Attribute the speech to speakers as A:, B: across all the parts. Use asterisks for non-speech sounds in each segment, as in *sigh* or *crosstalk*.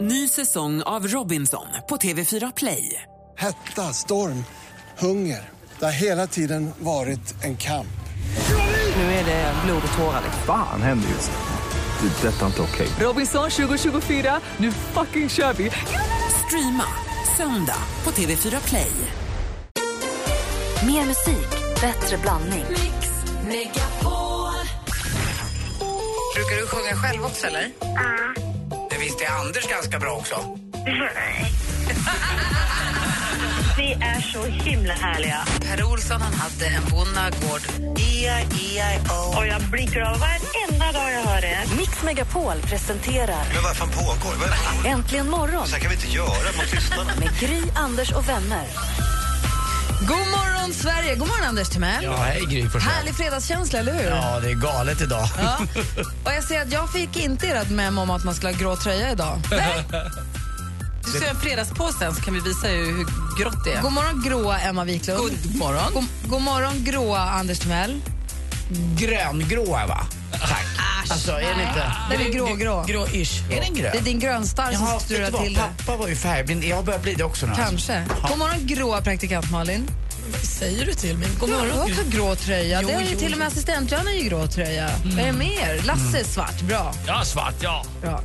A: Ny säsong av Robinson på TV4 Play.
B: Hetta, storm, hunger. Det har hela tiden varit en kamp.
A: Nu är det blod och tårar. liksom.
C: Fan händer just nu. Det. är Detta är inte okej.
A: Robinson 2024, nu fucking kör vi! Streama söndag på TV4 Play.
D: Mer musik, bättre blandning.
E: *laughs*
F: Brukar du sjunga själv också eller? Ja. Det visste är Anders ganska bra också.
E: Ni är så himla härliga.
F: Per Olsson han hade en bonnagård. E-I-E-I-O.
E: Och jag blinkar av varenda dag jag hör er.
D: Mix Megapol presenterar
G: Men vad fan pågår? Vad är det?
D: Äntligen morgon
G: Så här kan vi inte göra mot lyssnarna.
D: med Gry, Anders och vänner.
H: God morgon, Sverige! God morgon, Anders Timell.
I: Ja, hej Gry Forssell.
H: Härlig fredagskänsla, eller hur?
I: Ja, det är galet idag.
H: Ja. Och jag ser att jag fick inte ert memo om att man skulle ha grå
I: *laughs*
H: tröja idag.
J: Du ser en fredagspåse sen så kan vi visa ju hur grått det är.
H: God morgon, gråa Emma Wiklund.
J: God morgon.
H: God, god morgon, gråa Anders Timell.
I: Gröngråa, va? Tack. Alltså, är det inte...
H: Den
I: *laughs*
H: är grå-grå.
I: Är den grön?
H: Det är din grönstarr som
I: Jaha, vet
H: strular
I: du vad? alltså.
H: till det.
I: Pappa var ju färgblind. Jag börjar bli det också nu.
H: Kanske. God morgon, gråa praktikant Malin.
J: Säger du till mig? God
H: Du har också grå tröja. det är ju
J: jo,
H: till och med assistent-Johanna är ju grå tröja.
I: Mm.
H: Vad är det mer? Lasse är svart. Bra.
I: Ja, svart, ja.
H: Bra.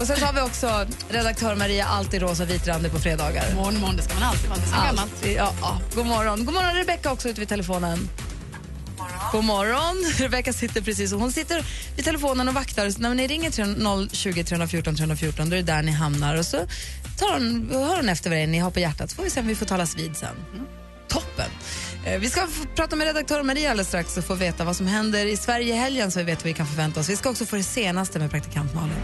H: Och sen så har vi också redaktör Maria Alltid Rosa Vitrande på fredagar.
J: Morgon, morgon, det ska man alltid vara. Det är så gammalt.
H: Alltid, ja, ja. God morgon. God morgon Rebecka också ute vid telefonen. God morgon. *laughs* Rebecka sitter precis och hon sitter vid telefonen och vaktar. Så när ni ringer 300 020 314 314 då är det där ni hamnar och så tar hon, hör hon efter vad det är ni har på hjärtat så får vi se om vi får talas vid sen.
J: Mm.
H: Toppen. Eh, Vi ska f- prata med redaktör Maria alldeles strax och få veta vad som händer i Sverige i helgen så vi vet vad vi kan förvänta oss. Vi ska också få det senaste med praktikant Malin.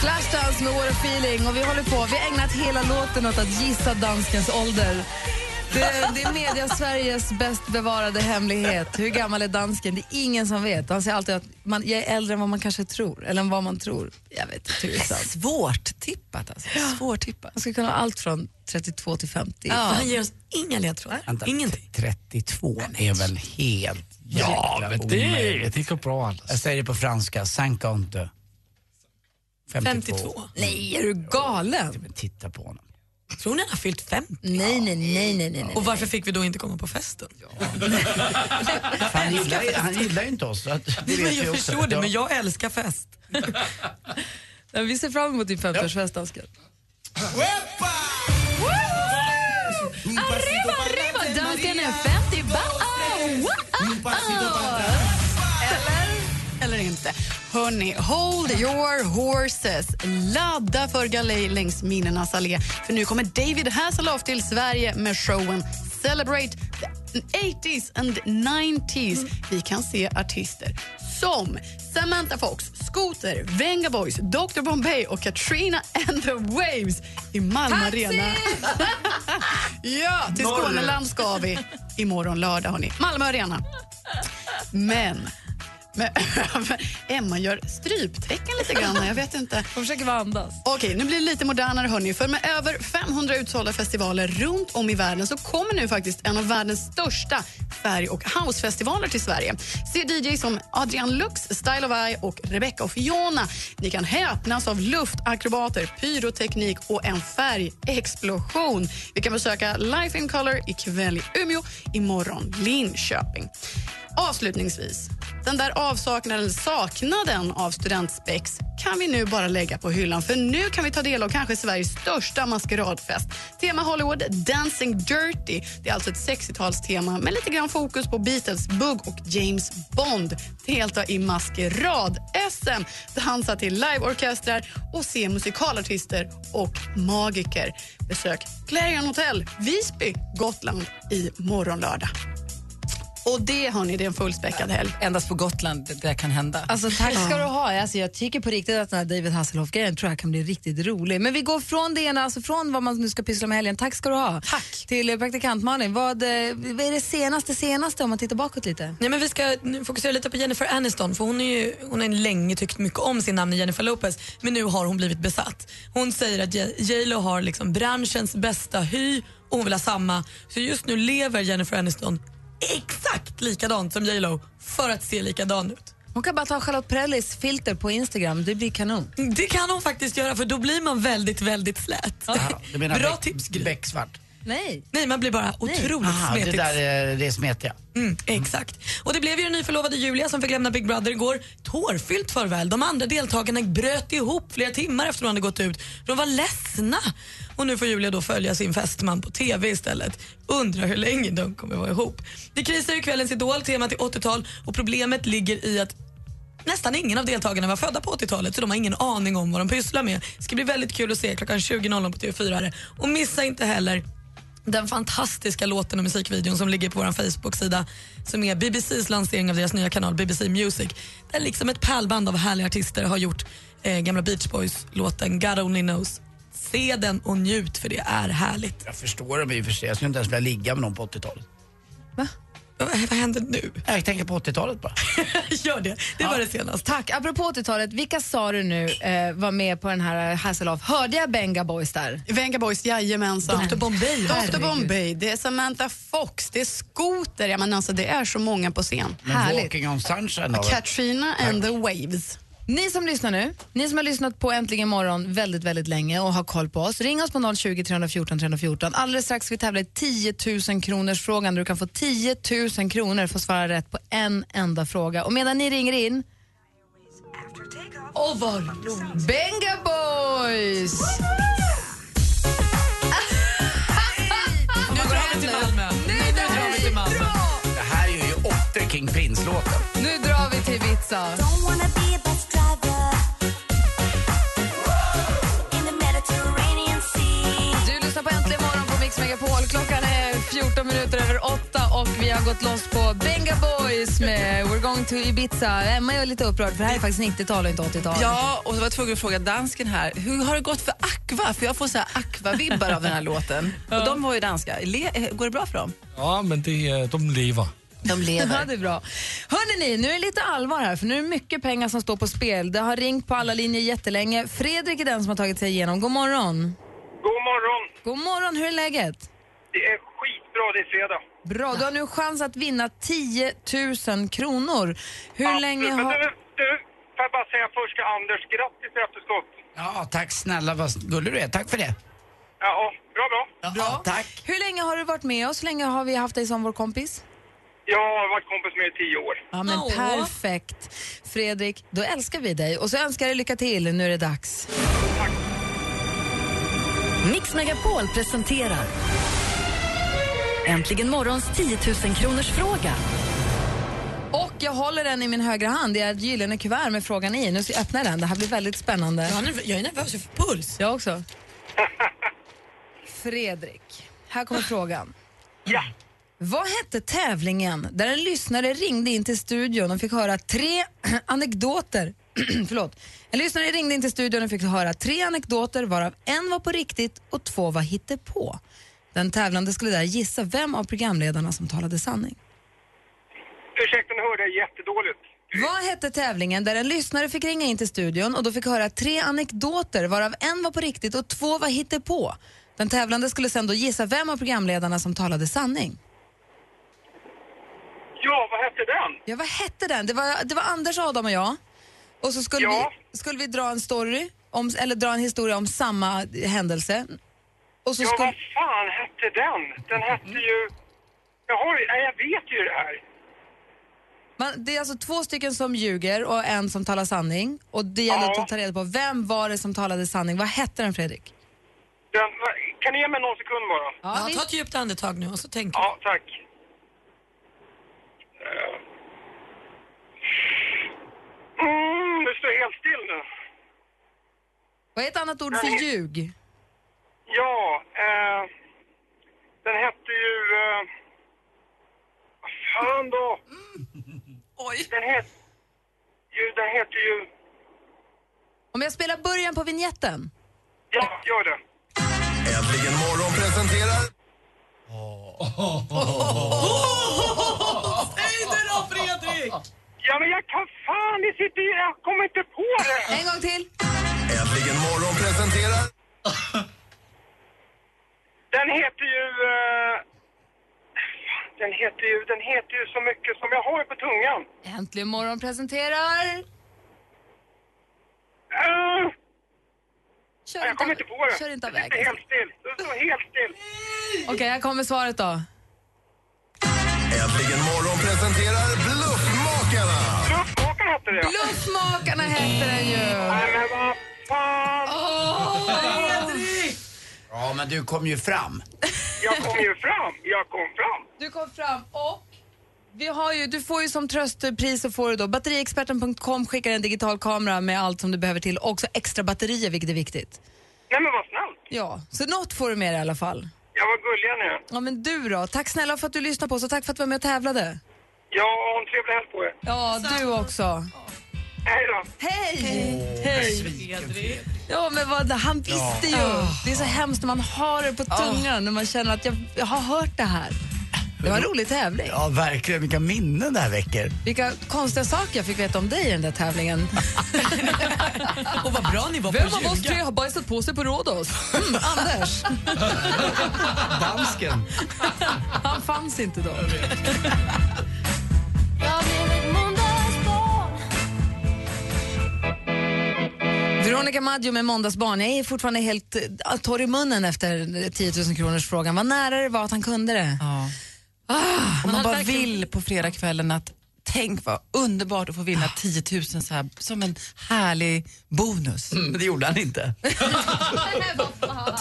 H: Flashdance med What a feeling och vi håller på. Vi har ägnat hela låten åt att gissa danskens ålder. Det, det är media Sveriges bäst bevarade hemlighet. Hur gammal är dansken? Det är ingen som vet. Han säger alltid att man, jag är äldre än vad man kanske tror. Eller än vad man tror. Jag vet inte tusan.
J: Svårt tippat alltså. Svårt tippat.
H: Man ska kunna ha allt från 32 till 50.
J: Han ger oss inga ledtrådar.
I: Vänta,
J: Ingenting.
I: 32 är väl helt Ja, men det, det går bra Anders. Jag säger det på franska. Sanka inte. 52.
J: 52.
H: Nej, är du galen?
I: Men titta på
H: *laughs*
I: honom.
J: Tror ni han har fyllt 50?
H: Nej, nej, nej, nej, nej. nej.
J: Och varför fick vi då inte komma på festen?
I: Han gillar, ju- han gillar ju inte oss. så att- Det vet
J: *laughs* Men
I: vi
J: jag
I: också.
J: förstår det,
I: Ja.
J: men jag älskar fest.
H: Nej, Vi ser fram emot din 50-årsfest, dansken. Arriba, arriba! Dansken är 50
J: Eller inte. Hörni, hold your horses. Ladda för galej längs minnenas allé. För nu kommer David Hasselhoff till Sverige med showen Celebrate the 80s and 90s. Vi kan se artister som Samantha Fox, Scooter, Venga Boys, Dr Bombay och Katrina and the Waves i Malmö
H: Taxi!
J: Arena. *laughs* ja, till Skåneland ska vi imorgon lördag. Hörni. Malmö Arena. Men men, *laughs* Emma gör stryptecken lite grann. Jag vet inte.
H: Hon försöker bara andas.
J: Okej, nu blir det lite modernare hörni. För med över 500 utsålda festivaler runt om i världen så kommer nu faktiskt en av världens största färg och housefestivaler till Sverige. Se DJ som Adrian Lux, Style of Eye och Rebecca och Fiona. Ni kan häpnas av luftakrobater, pyroteknik och en färgexplosion. Vi kan besöka Life in Color ikväll i Umeå, imorgon Linköping. Avslutningsvis, den där avsaknaden, saknaden av studentspex kan vi nu bara lägga på hyllan för nu kan vi ta del av kanske Sveriges största maskeradfest. Tema Hollywood Dancing Dirty. Det är alltså ett 60-talstema med lite grann fokus på Beatles, Bugg och James Bond. Delta i maskerad-SM, dansa till liveorkestrar och se musikalartister och magiker. Besök Clarion Hotel, Visby, Gotland i morgon lördag. Och det hörni, det är en fullspäckad helg.
F: Endast på Gotland det där kan hända.
H: Alltså, tack ska du ha. Alltså, jag tycker på riktigt att den här David Hasselhoff-grejen tror jag kan bli riktigt rolig. Men vi går från det ena, alltså från vad man nu ska pyssla med i helgen. Tack ska du ha.
J: Tack.
H: Till eh, praktikant Malin, vad, eh, vad är det senaste senaste om man tittar bakåt lite?
J: Nej, men vi ska nu fokusera lite på Jennifer Aniston för hon, är ju, hon har ju länge tyckt mycket om sin namn Jennifer Lopez men nu har hon blivit besatt. Hon säger att J- J.Lo har liksom branschens bästa hy och hon vill ha samma. Så just nu lever Jennifer Aniston
K: exakt likadant som J Lo för att se likadan ut.
H: Hon kan bara ta Charlotte Perrellis filter på Instagram. Det blir kanon.
K: Det kan hon faktiskt göra för då blir man väldigt, väldigt slät.
I: Du menar
K: *laughs* Bra
I: bäck-
K: tips Gry.
I: Bäcksvart.
H: Nej.
K: Nej, man blir bara otroligt
I: Aha,
K: smetig.
I: det där är, det är smetiga.
K: Mm, exakt. Och det blev ju den nyförlovade Julia som fick lämna Big Brother igår. Tårfyllt farväl. De andra deltagarna bröt ihop flera timmar efter att de hade gått ut. De var ledsna. Och nu får Julia då följa sin fästman på TV istället. Undrar hur länge de kommer vara ihop. Det krisar ju kvällens Idol, temat är 80-tal och problemet ligger i att Nästan ingen av deltagarna var födda på 80-talet så de har ingen aning om vad de pysslar med. Det ska bli väldigt kul att se klockan 20.00 på TV4. här. Och missa inte heller den fantastiska låten och musikvideon som ligger på vår Facebook-sida som är BBCs lansering av deras nya kanal BBC Music. Där liksom ett pärlband av härliga artister har gjort eh, gamla Beach Boys-låten God Only Knows. Se den och njut för det är härligt.
I: Jag förstår dem i och för sig. Jag skulle inte ens vilja ligga med någon på 80-talet.
K: Vad vad händer nu?
I: Jag tänker på 80-talet bara.
K: *laughs* Gör det, det var det senaste.
H: Tack. Apropå 80-talet, vilka sa du nu eh, var med på den här Hasselhoff? Hörde jag Benga Boys där?
J: Venga Boys, jajamensan.
K: Dr Bombay.
J: Dr Bombay, det är Samantha Fox, det är Scooter. Ja, men alltså, det är så många på scen.
I: Men
J: Härligt.
I: Walking on sunshine har väl-
J: Katrina and the Waves.
H: Ni som lyssnar nu, ni som har lyssnat på Äntligen morgon väldigt, väldigt länge och har koll på oss, ring oss på 020 314 314. Alldeles strax ska vi tävla i 10 000 kronors frågan där du kan få 10 000 kronor för att svara rätt på en enda fråga. Och medan ni ringer in... Åh, vad roligt! Benga Boys!
K: Nu drar vi till Malmö. Nu drar vi till Malmö.
I: Det här är ju åtta King Prince-låten.
H: Nu drar vi till Ibiza. Du lyssnar på Äntligen morgon på Mix Megapol. Klockan är 14 minuter över 8 och vi har gått loss på Benga Boys med We're going to Ibiza. Emma är lite upprörd för det här är faktiskt 90-tal och inte 80-tal.
L: Ja, och så var jag tvungen att fråga dansken här, hur har det gått för Aqua? För jag får så här Aqua-vibbar
H: *laughs*
L: av den här låten. Och de var ju danska. Le- eh, går det bra för dem?
M: Ja, men det, eh, de lever.
L: De
H: Ja, det är bra. Hörrni, ni, nu är det lite allvar här för nu är det mycket pengar som står på spel. Det har ringt på alla linjer jättelänge. Fredrik är den som har tagit sig igenom. God morgon.
N: God morgon!
H: God morgon, hur är läget?
N: Det är skitbra, det är fredag.
H: Bra, du har nu chans att vinna 10 000 kronor. Hur länge
N: Men
H: har...
N: du, du, får jag bara säga först till Anders, grattis i efterskott.
I: Ja, tack snälla vad gullig du är. Tack för det.
N: Jaha, bra bra.
I: Bra. Tack.
H: Hur länge har du varit med oss? Hur länge har vi haft dig som vår kompis?
N: Jag har varit kompis med i tio år.
H: Ja, men perfekt. Fredrik, då älskar vi dig och så önskar jag dig lycka till. Nu är det dags.
D: Mix Megapol presenterar Äntligen morgons 10 000
E: *laughs*
D: kronors fråga.
H: Och jag håller den i min högra hand. Det är ett gyllene kuvert med frågan i. Nu ska jag öppna den. Det här blir väldigt spännande.
K: Jag är nerv- jag är nervös, jag får puls.
H: Jag också. Fredrik, här kommer frågan.
N: Ja.
H: Vad hette tävlingen där en lyssnare ringde in till studion och fick höra tre *clears throat* anekdoter? *clears throat* Förlåt. En lyssnare ringde in till studion och fick höra tre anekdoter varav en var på riktigt och två var hittepå. Den tävlande skulle där gissa vem av programledarna som talade sanning.
N: Ursäkta, nu hörde jag jättedåligt.
H: Vad hette tävlingen där en lyssnare fick ringa in till studion och då fick höra tre anekdoter varav en var på riktigt och två var hittepå? Den tävlande skulle sen då gissa vem av programledarna som talade sanning.
N: Ja, vad hette den?
H: Ja, vad hette den? Det var, det var Anders, Adam och jag. Och så skulle,
N: Ja.
H: vi, skulle vi dra en story, om, eller dra en historia om samma händelse. Och så
N: ja,
H: skulle...
N: vad fan hette den? Den hette ju... Jag, har, ju- nej, jag vet ju det här.
H: Man, det är alltså två stycken som ljuger och en som talar sanning. Och det gäller
N: Ja.
H: att ta reda på vem var det som talade sanning. Vad hette den, Fredrik?
N: Den, kan ni ge mig någon sekund bara?
K: Ja, ta ett djupt andetag nu och så tänk.
N: Ja, tack. Eh. Mm, det står helt still nu.
H: Vad är ett annat ord för ljug?
N: Ja, eh, den hette ju... Eh, vad fan då? Oj. Den hette ju... Den hette ju...
H: Om jag spelar början på vignetten.
N: Ja, gör det.
O: Äntligen morgon presenterar...
N: *laughs* Säg det då, Fredrik! Ja, men jag kan fan, det sitter ju... Jag kommer inte på det!
H: En gång till.
O: Äntligen morgon presenterar...
N: Den heter ju... Eh, fan, Den heter ju, den heter ju så mycket som jag har ju på tungan.
H: Äntligen morgon presenterar... Kör
N: Ah. jag kommer inte på det.
H: kör inte av
N: det
H: vägen.
N: sitter helt still. Det står helt still.
H: Okej, här kommer svaret då.
O: Äntligen morgon presenterar Bluffmakarna!
N: Bluffmakarna hette det,
H: Bluffmakarna hette den ju! Nej,
N: men vad fan!
I: Ja, men du kom ju fram.
N: Jag kom ju fram. Jag kom fram.
H: Du kom fram och vi har ju, du får ju som tröstpris så får du då batteriexperten.com skickar en digital kamera med allt som du behöver till och också extra batterier vilket är viktigt.
N: Nej men vad snällt.
H: Ja, så något får du med dig i alla fall.
N: Jag var gulliga nu.
H: Ja men du då, tack snälla för att du lyssnade på oss och tack för att du var med och tävlade.
N: Ja, ha en trevlig helg på er.
H: Ja, du också.
N: Hej då.
H: Hej! Hej! Ja, men vad, han visste ju.
N: Ja.
H: Det är så hemskt när man har det på tungan när man känner att jag, jag har hört det här. Det var en rolig tävling.
I: Ja, verkligen. Vilka minnen det här väcker.
K: *laughs*
H: Vilka konstiga saker jag fick veta om dig i den där tävlingen.
K: *laughs* Och vad bra ni var
H: Vem
K: på
H: av
K: att
H: oss tre
K: ljuga.
H: har bajsat på sig på Rhodos? Mm, Anders.
I: Dansken.
H: *laughs* Han fanns inte då. Veronica Maggio med Måndagsbarn. Jag är fortfarande helt eh, torr i munnen efter 10 000 kronors frågan. Vad nära det var att han kunde det.
L: Ja. Om Ah, man, bara vill på fredagskvällen att tänk vad underbart att få vinna
H: Ah.
L: 10 000 så här, som en härlig bonus.
I: Men Mm, det gjorde han inte. *laughs*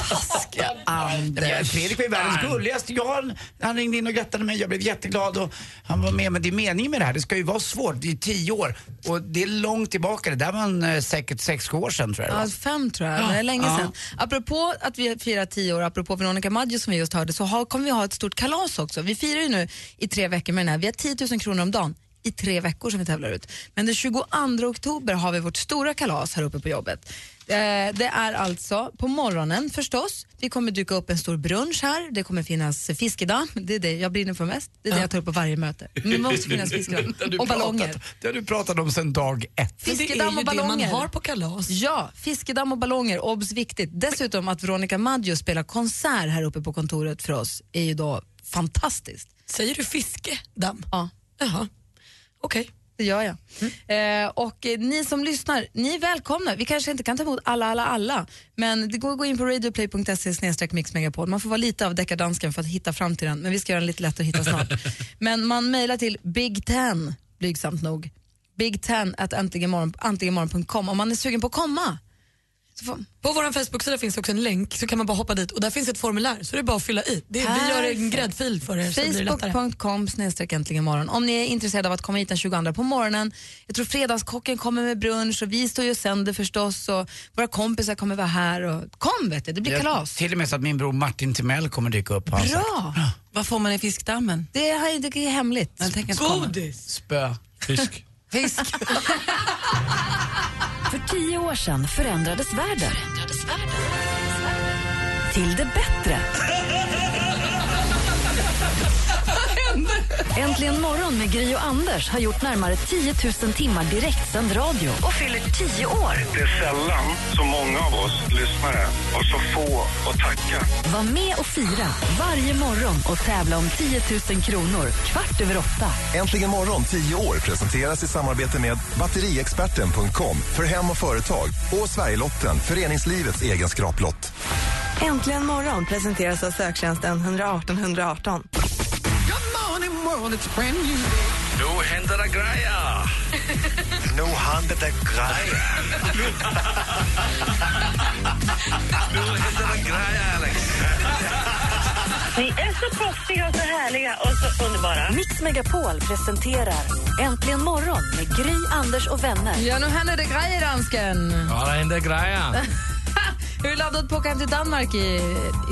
I: Taskiga Anders. Eh, Fredrik var ju världens gulligaste. Jag, han- han ringde in och grattade mig. Jag blev jätteglad och han var med. Men det är meningen med det här. Det ska ju vara svårt. Det är tio år och det är långt tillbaka. Det där var en, eh, säkert sex, sju år sedan tror jag. det
H: Ja,
I: var.
H: fem tror jag, det är länge
I: Ja.
H: sedan. Apropå att vi firar tio år, apropå Veronica Maggio som vi just hörde, så har, kommer vi ha ett stort kalas också. Vi firar ju nu i tre veckor med den här. Vi har 10 000 kronor om dagen i tre veckor som vi tävlar ut. Men den 22 oktober har vi vårt stora kalas här uppe på jobbet. Eh, det är alltså på morgonen förstås. Det kommer dyka upp en stor brunch här. Det kommer finnas fiskedamm. Det är det jag brinner för mest. Det är det jag tar upp på varje möte. Men det måste finnas fiskedamm.
I: *laughs* Det har du
H: Och ballonger.
I: pratat- Det har du pratat om sedan dag ett.
K: Men det är
H: Fiskedamm
K: ju
H: och
K: det man
H: ballonger.
K: har på kalas.
H: Ja, fiskedamm och ballonger. Obs! Viktigt. Dessutom att Veronica Maggio spelar konsert här uppe på kontoret för oss är ju då fantastiskt.
K: Säger du fiskedamm?
H: Ja.
K: Jaha, okej. Mm.
H: Det gör jag. Eh, och eh, ni som lyssnar, ni är välkomna. Vi kanske inte kan ta emot alla, alla, alla, men det går att gå in på radioplay.se snedstreck mixmegapol. Man får vara lite av deckardansken för att hitta fram till den, men vi ska göra den lite lätt att
K: *laughs*
H: hitta snart. men man mejlar till Big Ten, blygsamt nog, Big Ten at äntligenmorgon- äntligenmorgon.com om man är sugen på att komma.
K: På vår Facebook-sida finns också en länk så kan man bara hoppa dit och där finns ett formulär så det är bara att fylla i. Det, vi gör en
H: Perfekt.
K: gräddfil för er så blir det lättare.
H: Facebook.com snedstreck äntligen morgon. Om ni är intresserade av att komma hit den 22 på morgonen. Jag tror Fredagskocken kommer med brunch och vi står ju och sänder förstås och våra kompisar kommer vara här. Och... Kom vet du, det blir
I: Jag-
H: kalas.
I: Till och med så att min bror Martin Timell kommer dyka upp. Han sa,
H: Bra!
L: Vad får man i fiskdammen?
H: Det är, det är hemligt.
K: Godis!
I: Spö. Fisk.
L: Fisk.
D: För tio år sedan förändrades världen. Till det bättre. Äntligen morgon med Gry och Anders har gjort närmare 10 000 timmar direktsänd radio och fyller 10 år.
N: Det är sällan så många av oss lyssnare och så få att tacka.
D: Var med och fira varje morgon och tävla om 10 000 kronor kvart över åtta.
O: Äntligen morgon 10 år presenteras i samarbete med batteriexperten.com för hem och företag och Sverigelotten, föreningslivets egen skraplott.
P: Äntligen morgon presenteras av söktjänsten 118 118.
G: Nu händer det
N: *laughs*
G: grejer. Nu händer det grejer. Nu händer det grejer, Alex.
E: Ni är så proffsiga och så härliga och
D: Alltså,
E: så underbara.
D: Mix Megapol presenterar Äntligen morgon med Gry, Anders och vänner.
H: Ja, nu händer det grejer, dansken.
M: Ja, det händer grejer.
H: *laughs* Hur laddad på att åka hem till Danmark i,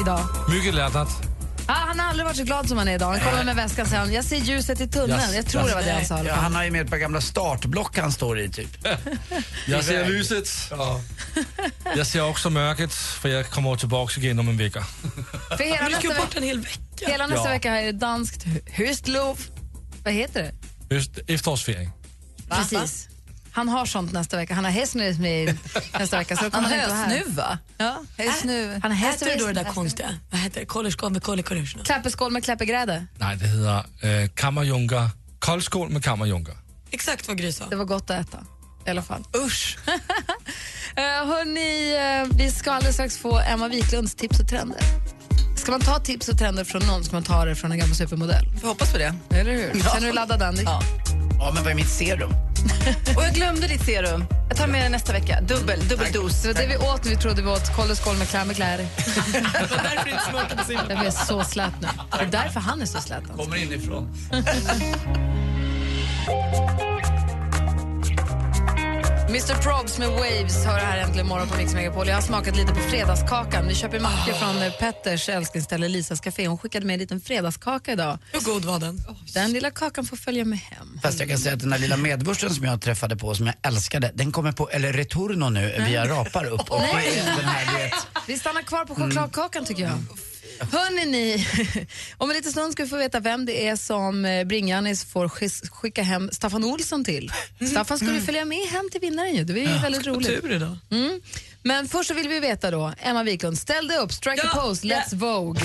H: idag?
M: Mycket lättat.
H: Ah, han har aldrig varit så glad som han är idag. Han kommer med väskan sen. Jag ser ljuset i tunneln.
I: Yes,
H: Jag tror
I: yes.
H: det var det han sa. i alla
I: Ja,
H: fall.
I: han har ju med ett par gamla startblock han står i typ.
M: Jag ser
I: Iväg.
M: lyset. Jag ser också mörkret, för jag kommer tillbaka igen om en vecka.
H: För hela
K: Du ska ju
H: nästa
K: bort
H: vecka,
K: en hel vecka.
H: hela nästa
M: Ja.
H: vecka här är det danskt hu- höstlov. Vad heter det?
M: Just efterårsfering.
H: Precis. Han har sånt nästa vecka. Han har häst nu med
K: *laughs*
H: nästa vecka. Så då
L: Han
H: kommer
L: har
H: inte vara här.
L: hösnuva.
H: Ja, hästnuva.
K: Äh, Han
H: Han
K: heter du då det där
H: häst-
K: konstiga? Vad heter det? Kollerskål med kollekorusjna?
H: Kläppeskål med kläppegrädde.
M: Nej, det hedder øh, kammerjunker. Koldskål med kammerjunker.
K: Exakt vad Gry sa.
H: Det var gott att äta. I alla fall. *laughs* Usch! hörni, eh, vi ska alldeles strax få Emma Wiklunds tips och trender. Ska man ta tips och trender från någon ska man ta det från en gammal supermodell.
L: Vi hoppas på det.
H: Eller hur?
L: Ja.
H: Känner du laddad, Andy? Ja.
I: Ja, men vad är mitt serum?
L: Och jag glömde ditt serum. Jag tar med det nästa vecka. Dubbel, dubbel dos.
H: Det var det vi åt när vi trodde vi åt koll och skål med klämmekläder.
K: Det var därför det inte smakade så
H: Jag är så slät nu. Det är därför han är så slät. alltså.
I: Kommer inifrån.
H: Mr Probs med Waves hör här äntligen morgon på Mix Megapol. Jag har smakat lite på fredagskakan. Vi köper mackor från eh, Petters älsklingsställe Lisas Café. Hon skickade med en liten fredagskaka idag.
K: Hur god var den?
H: Den lilla kakan får följa med hem.
I: Fast jag kan säga att den där lilla medvursten som jag träffade på, som jag älskade, den kommer på El Retorno nu via rapar upp. Och det är den här, du vet,
H: Vi stannar kvar på chokladkakan tycker jag. Hörrni ni, *laughs* om en liten stund ska vi få veta vem det är som eh, Bring-Janis får skis- skicka hem Staffan Olsson till. Staffan skulle
K: Mm.
H: följa med hem till vinnaren ju, det blir ju väldigt
K: Ska på
H: roligt.
K: tur idag.
H: Mm. Men först så vill vi veta då, Emma Wiklund, ställ dig upp, strike a pose, let's vogue.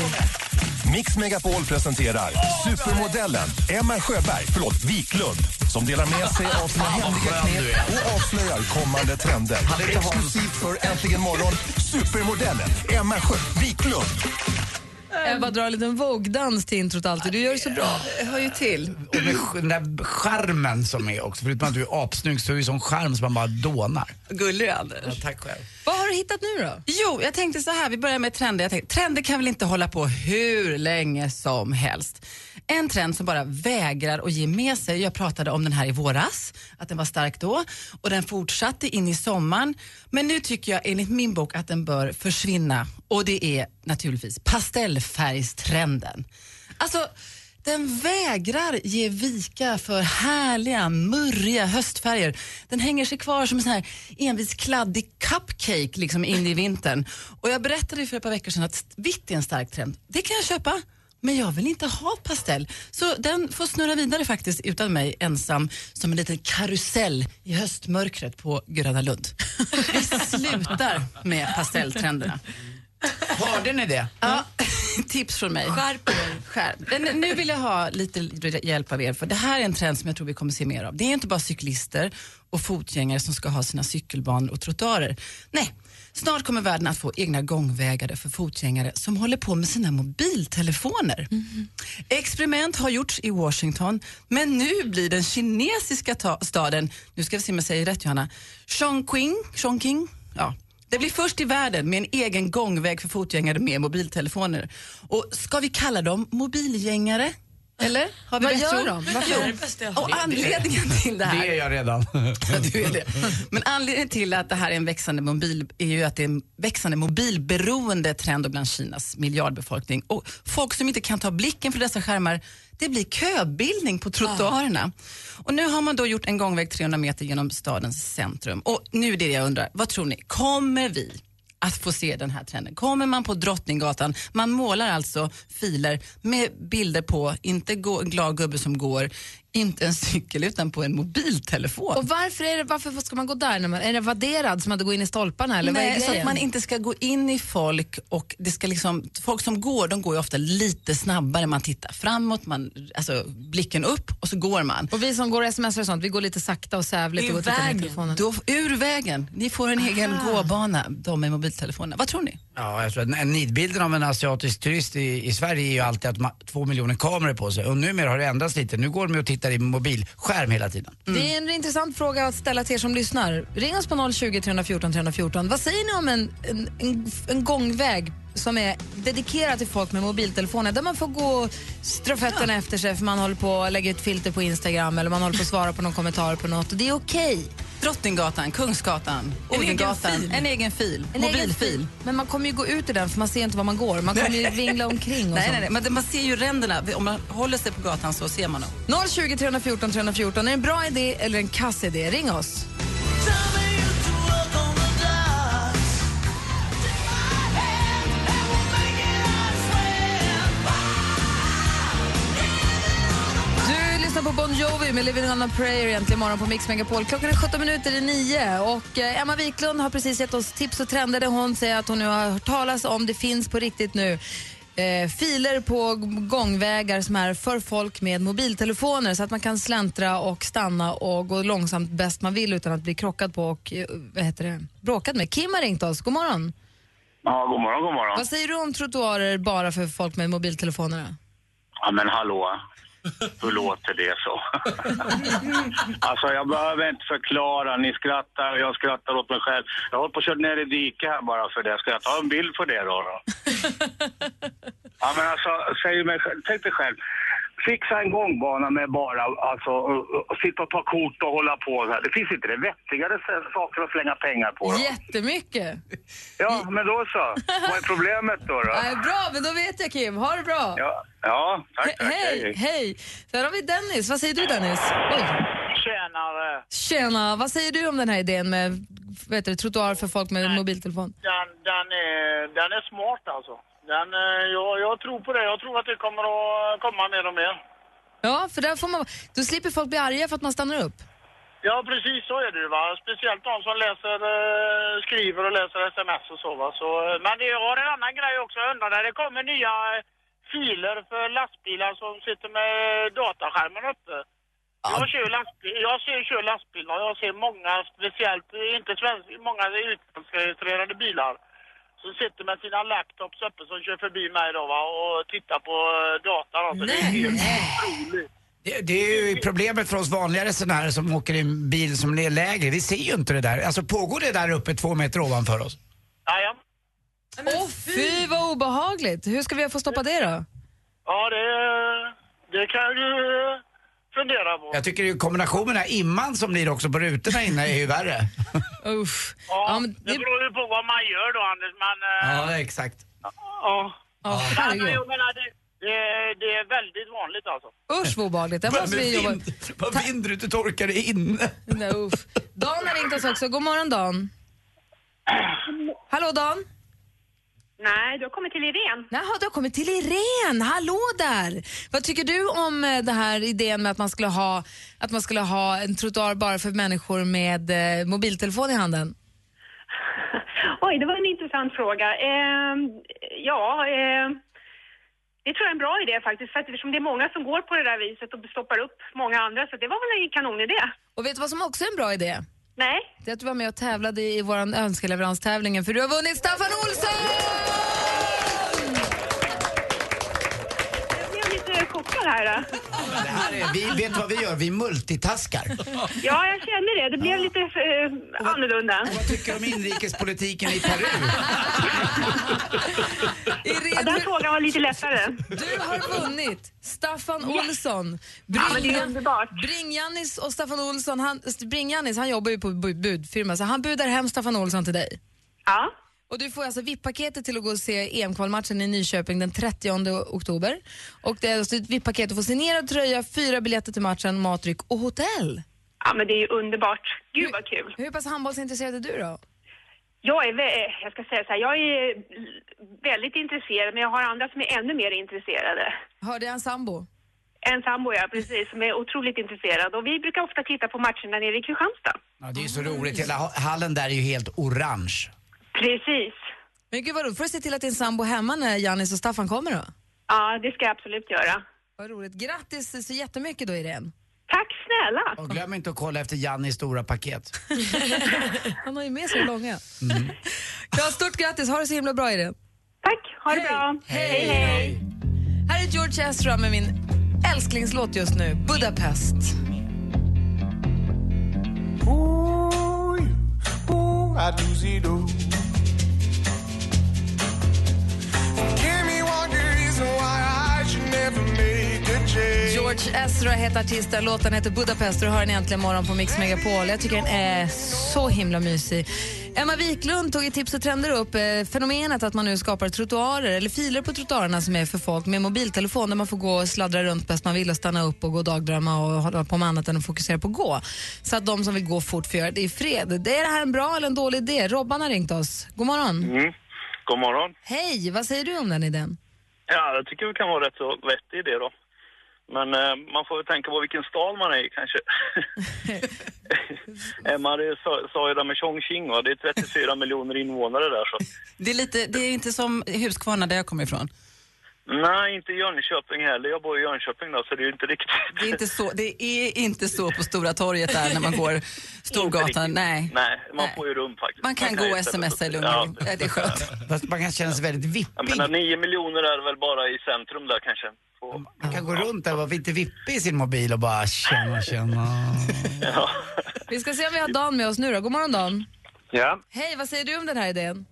O: Mix Megapol presenterar supermodellen Emma Sjöberg, förlåt, Wiklund som delar med sig av sina
G: Fan, vad
O: hemliga
G: skön du
O: knep och avslöjar kommande trender.
G: Hade inte Hans-
O: Exklusivt för Äntligen morgon, supermodellen Emma Sjö Wiklund.
H: Ebba drar en liten vogue-dans till introt alltid, du gör det så bra. Hör ju till.
I: och med sk- den där charmen som är också. Förutom att du är apsnygg så är det ju sån charm som man bara dånar.
L: Gullig du är, Anders.
I: tack själv.
H: Vad har du hittat nu då?
L: Jo, jag tänkte så här, vi börjar med trender. Jag tänkte, trender kan väl inte hålla på hur länge som helst. En trend som bara vägrar att ge med sig, jag pratade om den här i våras, att den var stark då och den fortsatte in i sommaren. Men nu tycker jag enligt min bok att den bör försvinna och det är naturligtvis pastellfärgstrenden. Alltså, den vägrar ge vika för härliga, murriga höstfärger. Den hänger sig kvar som en sån här envis kladdig cupcake liksom in i vintern. Och jag berättade ju för ett par veckor sedan att vitt är en stark trend. Det kan jag köpa, men jag vill inte ha pastell. Så den får snurra vidare faktiskt utan mig ensam som en liten karusell i höstmörkret på Gröna
I: *laughs*
L: Lund. Vi slutar med pastelltrenderna.
I: Hörde ni det?
L: Ja, *laughs* tips från mig. Skärp er. Men Nu vill jag ha lite hjälp av er, för det här är en trend som jag tror vi kommer se mer av. Det är inte bara cyklister och fotgängare som ska ha sina cykelbanor och trottoarer. Nej, snart kommer världen att få egna gångvägar för fotgängare som håller på med sina mobiltelefoner.
H: Mhm.
L: Experiment har gjorts i Washington, men nu blir den kinesiska ta- staden, nu ska vi se om jag säger rätt Johanna, Chongqing, Chongqing ja. Det blir först i världen med en egen gångväg för fotgängare med mobiltelefoner. Och ska vi kalla dem mobilgängare? Eller? Har vi
H: Vad
L: bättre
H: gör
L: ord?
H: de?
L: Jo,
H: Varför är det bästa jag har?
L: Och
H: Det- det-
L: anledningen till det här.
I: Det är jag
L: *laughs*
I: redan.
L: du är det. Men anledningen till att det här är en växande mobil är ju att det är en växande mobilberoende trend bland Kinas miljardbefolkning. Och folk som inte kan ta blicken från dessa skärmar, det blir köbildning på trottoarerna. Och nu har man då gjort en gångväg 300 meter genom stadens centrum. Och nu är det jag undrar, vad tror ni, kommer vi att få se den här trenden. Kommer man på Drottninggatan, man målar alltså filer med bilder på, inte gå, en glad gubbe som går, inte en cykel utan på en mobiltelefon.
H: Och varför, är det, varför ska man gå där? När man, är det vadderad som hade gått in i stolparna eller vad är
L: Nej, så
H: grejen?
L: att man inte ska gå in i folk och det ska liksom, folk som går, de går ju ofta lite snabbare. Man tittar framåt, man, alltså blicken upp och så går man.
H: Och vi som går och smsar och sånt, vi går lite sakta och sävligt och går och tittar ner i telefonen.
L: Då, ur vägen. Ni får en egen gåbana, de med mobiltelefonerna. Vad tror ni?
I: Ja, jag tror att den- nidbilden av en asiatisk turist i, i Sverige är ju alltid att de har två miljoner kameror på sig. Och numera har det ändrats lite. Nu går de ju och tittar i mobilskärm hela tiden.
H: Det är
L: Mm.
H: en intressant fråga att ställa till er som lyssnar. Ring oss på 020 314 314. Vad säger ni om en, en, en, en gångväg som är dedikerad till folk med mobiltelefoner där man får gå och strö fötterna efter sig för man håller på att lägga ut filter på Instagram eller man håller på att svara på någon kommentar på något och det är okej.
L: Drottninggatan, Kungsgatan,
H: En egen
L: Odengatan,
H: fil.
L: en egen fil,
H: En egen
L: mobilfil.
H: fil. Men man kommer ju gå ut ur den för man ser inte var man går. Man kommer ju vingla omkring och
L: *laughs* nej,
H: sånt.
L: nej, nej, men det- man ser ju ränderna. Om man håller sig på gatan så ser man dem.
H: 020 314 314. Är det en bra idé eller en kass idé? Ring oss. Du lyssnar på Bon Jovi med Living on a prayer egentligen imorgon på Mix Megapol. Klockan är 17 minuter i nio och eh, Emma Wiklund har precis gett oss tips och trender där hon säger att hon nu har hört talas om, det finns på riktigt nu, eh, filer på g- gångvägar som är för folk med mobiltelefoner så att man kan släntra och stanna och gå långsamt bäst man vill utan att bli krockad på och eh, vad heter det, bråkad med. Kim har ringt oss, god morgon.
Q: Ja, god morgon, god morgon.
H: Vad säger du om trottoarer bara för folk med mobiltelefonerna?
Q: Ja, men hallå. Hur låter det
H: *laughs*
Q: så? alltså, jag behöver inte förklara. Ni skrattar och jag skrattar åt mig själv. Jag håller på att köra ner i diket här bara för det. Ska jag ta en bild för det då?
H: *laughs*
Q: då? ja, men alltså, säg mig, själv- tänk dig själv. Fixa en gångbana med bara, alltså, och- och sitta och ta kort och hålla på så här. Det finns inte det vettigare s- saker att slänga pengar på. Då.
H: Jättemycket!
Q: Ja, men då så. Vad är problemet då? då?
H: Nej, bra, men då vet jag Kim. Ha det bra.
Q: Ja, ja tack, tack.
H: Hej, hej. Sen har vi Dennis. Vad säger du Dennis? Oj.
N: Tjenare!
H: Tjena, vad säger du om den här idén med vad heter det, trottoar för folk med mobiltelefon?
N: Den, den, är, den är smart alltså. Den, eh, jag, jag tror på det. Jag tror att det kommer att komma mer och mer.
H: Ja, för där får man, då slipper folk bli arga för att man stannar upp.
N: Ja, precis så är det ju. Va? Speciellt de som läser, eh, skriver och läser sms och så. Va? så eh, men det har en annan grej också. Jag undrar när det kommer nya eh, filer för lastbilar som sitter med dataskärmen uppe. Jag kör lastbil, jag ser, kör lastbil och jag ser många, speciellt eh, inte svensk, många utlandsregistrerade bilar som sitter med sina laptops uppe som kör förbi mig då va och tittar på eh, data då. Så det är helt otroligt.
I: Det, det är ju problemet för oss vanliga resenärer som åker i en bil som är lägre. Vi ser ju inte det där. Alltså pågår det där uppe två meter ovanför oss?
H: Åh fy vad obehagligt! Hur ska vi få stoppa det då?
N: Ja, det, det kan du fundera på.
I: Jag tycker det är ju kombinationen här, imman som blir också på rutorna inne är ju *laughs* värre.
H: Uff.
N: Ja, det... beror ju på vad man gör då, Anders. Men, eh,
I: Ja, exakt.
N: ja. Men, alltså,
H: herregud.
N: jag menar, det, det, det är väldigt vanligt alltså.
H: Usch vad obehagligt. Där måste vi jobba.
I: Vad vinner du inte torkar dig inne?
H: Nej, uff. Dan har ringt oss också. God morgon Dan. Hallå Dan.
R: Nej, du har kommit till Irene.
H: Jaha, du har kommit till Irene. Hallå där! Vad tycker du om eh, den här idén med att man skulle ha, att man skulle ha en trottoar bara för människor med eh, mobiltelefon i handen?
R: *laughs* Oj, det var en intressant fråga. Ehm, ja, eh, det tror jag är en bra idé faktiskt, för att eftersom det är många som går på det där viset och stoppar upp många andra, så det var väl en kanonidé.
H: Och vet du vad som också är en bra idé?
R: Nej.
H: Det är att du var med och tävlade i vår önskeleveranstävlingen för du har vunnit Staffan Olsson!
R: Jag blev lite chockad här. Då.
I: Det här är, vi vet vad vi gör, vi multitaskar.
R: Ja, jag känner det. Det blev lite eh, annorlunda. Vad
I: tycker du om inrikespolitiken i Peru?
R: ja, den frågan var lite lättare.
H: Du har vunnit Staffan
R: Yes.
H: Olsson.
R: Ja, men det är
H: Bring-Jannis och Staffan Olsson, han, Bring-Jannis han jobbar ju på bu- budfirma så han budar hem Staffan Olsson till dig.
R: Ja.
H: Och du får alltså VIP-paketet till att gå och se EM-kvalmatchen i Nyköping den 30 oktober. Och det är alltså ett VIP-paket, du får signerad tröja, fyra biljetter till matchen, matdryck och hotell.
R: Ja, men det är ju underbart. Gud vad kul.
H: Hur pass handbollsintresserad är du då?
R: Jag är, vä- eh, jag ska säga så här, jag är eh, väldigt intresserad, men jag har andra som är ännu mer intresserade.
H: Hörde jag en sambo?
R: En sambo, ja, precis, som är otroligt intresserad. Och vi brukar ofta titta på matcherna nere i Kristianstad.
I: Ja, det är ju så roligt, hela ha- hallen där är ju helt orange.
R: Precis.
H: Men gud vad roligt, får du se till att din sambo är hemma när Jannis och Staffan kommer då?
R: Ja, det ska jag absolut göra.
H: Vad roligt. Grattis så jättemycket då Irene.
R: Tack snälla!
I: Och glöm inte att kolla efter Jannis stora paket.
H: Han har ju med sig långa. *laughs* Ja, stort grattis, ha det så himla bra Irene.
R: Tack, ha det bra.
H: Hej, hej. Här är George Ezra med min älsklingslåt just nu, Budapest.
S: I do see do. Give me one good reason why I should never make a change.
H: George Ezra heter artisten, låten heter Budapest och du hör den äntligen morgon på Mix Megapol. Jag tycker den är så himla mysig. Emma Wiklund tog i Tips och trender upp eh, fenomenet att man nu skapar trottoarer eller filer på trottoarerna som är för folk med mobiltelefon där man får gå och sladdra runt bäst man vill och stanna upp och gå och dagdrömma och hålla på med annat än att fokusera på att gå. Så att de som vill gå fort får göra det i fred. Är det här en bra eller en dålig idé? Robban har ringt oss. God morgon.
T: Mm. God morgon.
H: Hej, vad säger du om den idén?
T: Ja, jag tycker det kan vara rätt så vettig idé då.
Q: Men eh, man får ju tänka på vilken stad man är i
L: *laughs*
Q: kanske. Eh, Marie sa- sa ju det med Chongqing va, det är
L: *laughs*
Q: 34 miljoner invånare där så.
L: Det är, lite, det är inte som Huskvarna där jag kommer ifrån.
Q: Nej, inte Jönköping heller. Jag bor i Jönköping då, så det är ju inte riktigt...
L: Det är
Q: *laughs*
L: inte så, det är inte så på Stora torget där när man
H: *laughs*
L: går Storgatan. Nej.
Q: Nej, man får ju rum faktiskt.
L: Man kan gå och
Q: istället-
L: smsa i lugn och ro. Ja, det är skönt.
I: Fast man kan känna sig väldigt vippig.
Q: Jag menar, 9 miljoner är väl bara i centrum där kanske. På,
I: Man kan gå runt där och vara lite vippig i sin mobil och bara känna, känna.
Q: ja.
H: Vi ska se om vi har Dan med oss nu då. God morgon Dan.
T: Ja.
H: Hej, vad säger du om den här idén?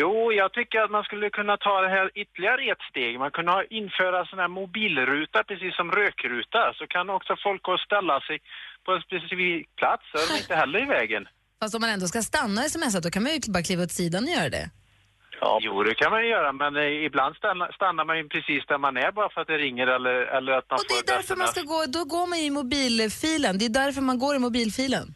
T: Jo, jag tycker att man skulle kunna ta det här ytterligare ett steg. Man kunde ha införa sådana här mobilruta, precis som rökruta. Så kan också folk gå och ställa sig på en specifik plats, så är de inte heller i vägen.
H: Fast om man ändå ska stanna och smsa då kan man ju bara kliva åt sidan och göra det.
T: Jo, det kan man ju göra, men eh, ibland stanna- stannar man ju precis där man är bara för att det ringer eller, eller att man får...
H: Det är därför man ska gå, då går man ju i mobilfilen. Det är därför man går i mobilfilen.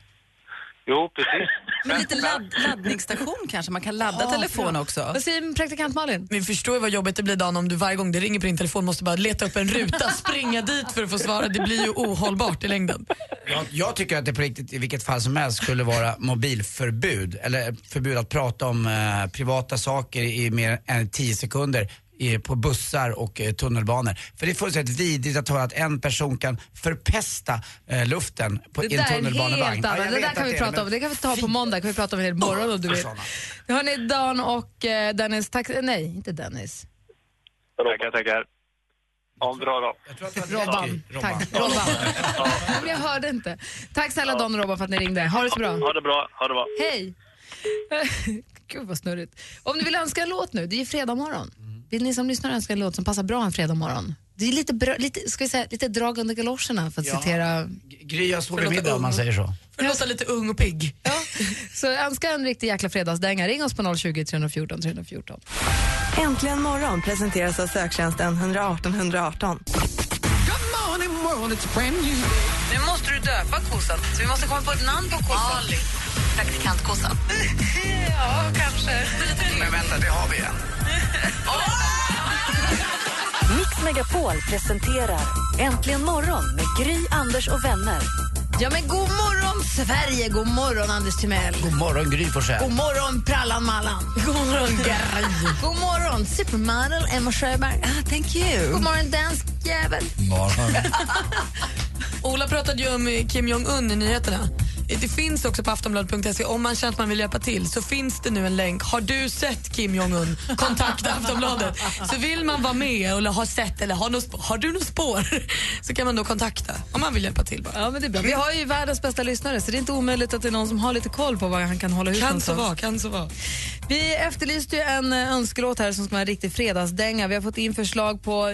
T: Jo, precis.
L: *laughs* Men lite ladd, laddningsstation kanske, man kan ladda telefon också.
H: Vad säger praktikant Malin?
K: Ni förstår ju vad jobbigt det blir Dan om du varje gång det ringer på din telefon måste bara leta upp en
H: *laughs*
K: ruta, springa dit för att få svara. Det blir ju ohållbart i längden.
I: Jag, jag tycker att det på riktigt i vilket fall som helst skulle vara mobilförbud. Eller förbud att prata om eh, privata saker i mer än 10 sekunder i, på bussar och eh, tunnelbanor. För det är fullständigt vidrigt att höra att en person kan förpesta eh, luften på,
H: Det
I: i en
H: där är en
I: tunnelbanevagn. Ja, jag
H: helt annan. Det
I: vet
H: där
I: att
H: kan vi
I: är
H: prata om.
I: men- Oh,
H: Det kan vi ta på måndag. kan vi prata om en hel morgon om du vill.
I: Såna.
H: Hörni, Dan och eh, Dennis, tack... Nej, inte Dennis.
T: Tackar, tackar. Ja, bra då.
H: Robban. Tack. Robban. Men jag hörde inte. Tack snälla Dan och Robban för att ni ringde. Ha det så bra.
T: Ha det bra, ha det bra.
H: Hej! *laughs* Gud vad snurrigt. Om ni vill önska en låt nu, det är ju fredag morgon. Vill ni som lyssnar önska en låt som passar bra en fredag morgon? Det är lite, brö- lite, ska vi säga, lite drag under galoscherna för att
I: Ja.
H: citera
I: Gry har sovmiddag om man säger så.
K: För att låta lite ung och pigg.
H: Ja. Så önska en riktig jäkla fredagsdänga. Ring oss på 020 314 314.
P: Äntligen morgon presenteras av söktjänsten 118 118.
L: Nu måste du döpa kossan, så vi måste komma på ett namn på kossan. Ali. Praktikantkossan.
H: *laughs* ja, kanske.
I: Men vänta, det har vi en.
D: Mix Megapol presenterar Äntligen morgon med Gry, Anders och vänner.
H: Ja, men god morgon Sverige! God morgon Anders Timell!
I: God morgon Gry Forssell.
H: God morgon Prallan Mallan! God morgon Gary! God morgon supermodel Emma Sjöberg! Ah, thank you! God morgon dansk jävel!
K: Ola pratade ju om eh, Kim Jong-Un i nyheterna. Eh, Det finns också på aftonbladet.se. Om man känner att man vill hjälpa till så finns det nu en länk. Har du sett Kim Jong-Un? Kontakta Aftonbladet. Så vill man vara med eller har sett eller har, något, sp- har du något spår *laughs* så kan man då kontakta om man vill hjälpa till. Bara.
H: Ja, men det är bra. Vi har ju världens bästa lyssnare så det är inte omöjligt att det är någon som har lite koll på vad han kan hålla ut
K: Kan så
H: någonstans.
K: vara, kan så vara.
H: Vi efterlyste ju en eh, önskelåt här som ska vara en riktig fredagsdänga. Vi har fått in förslag på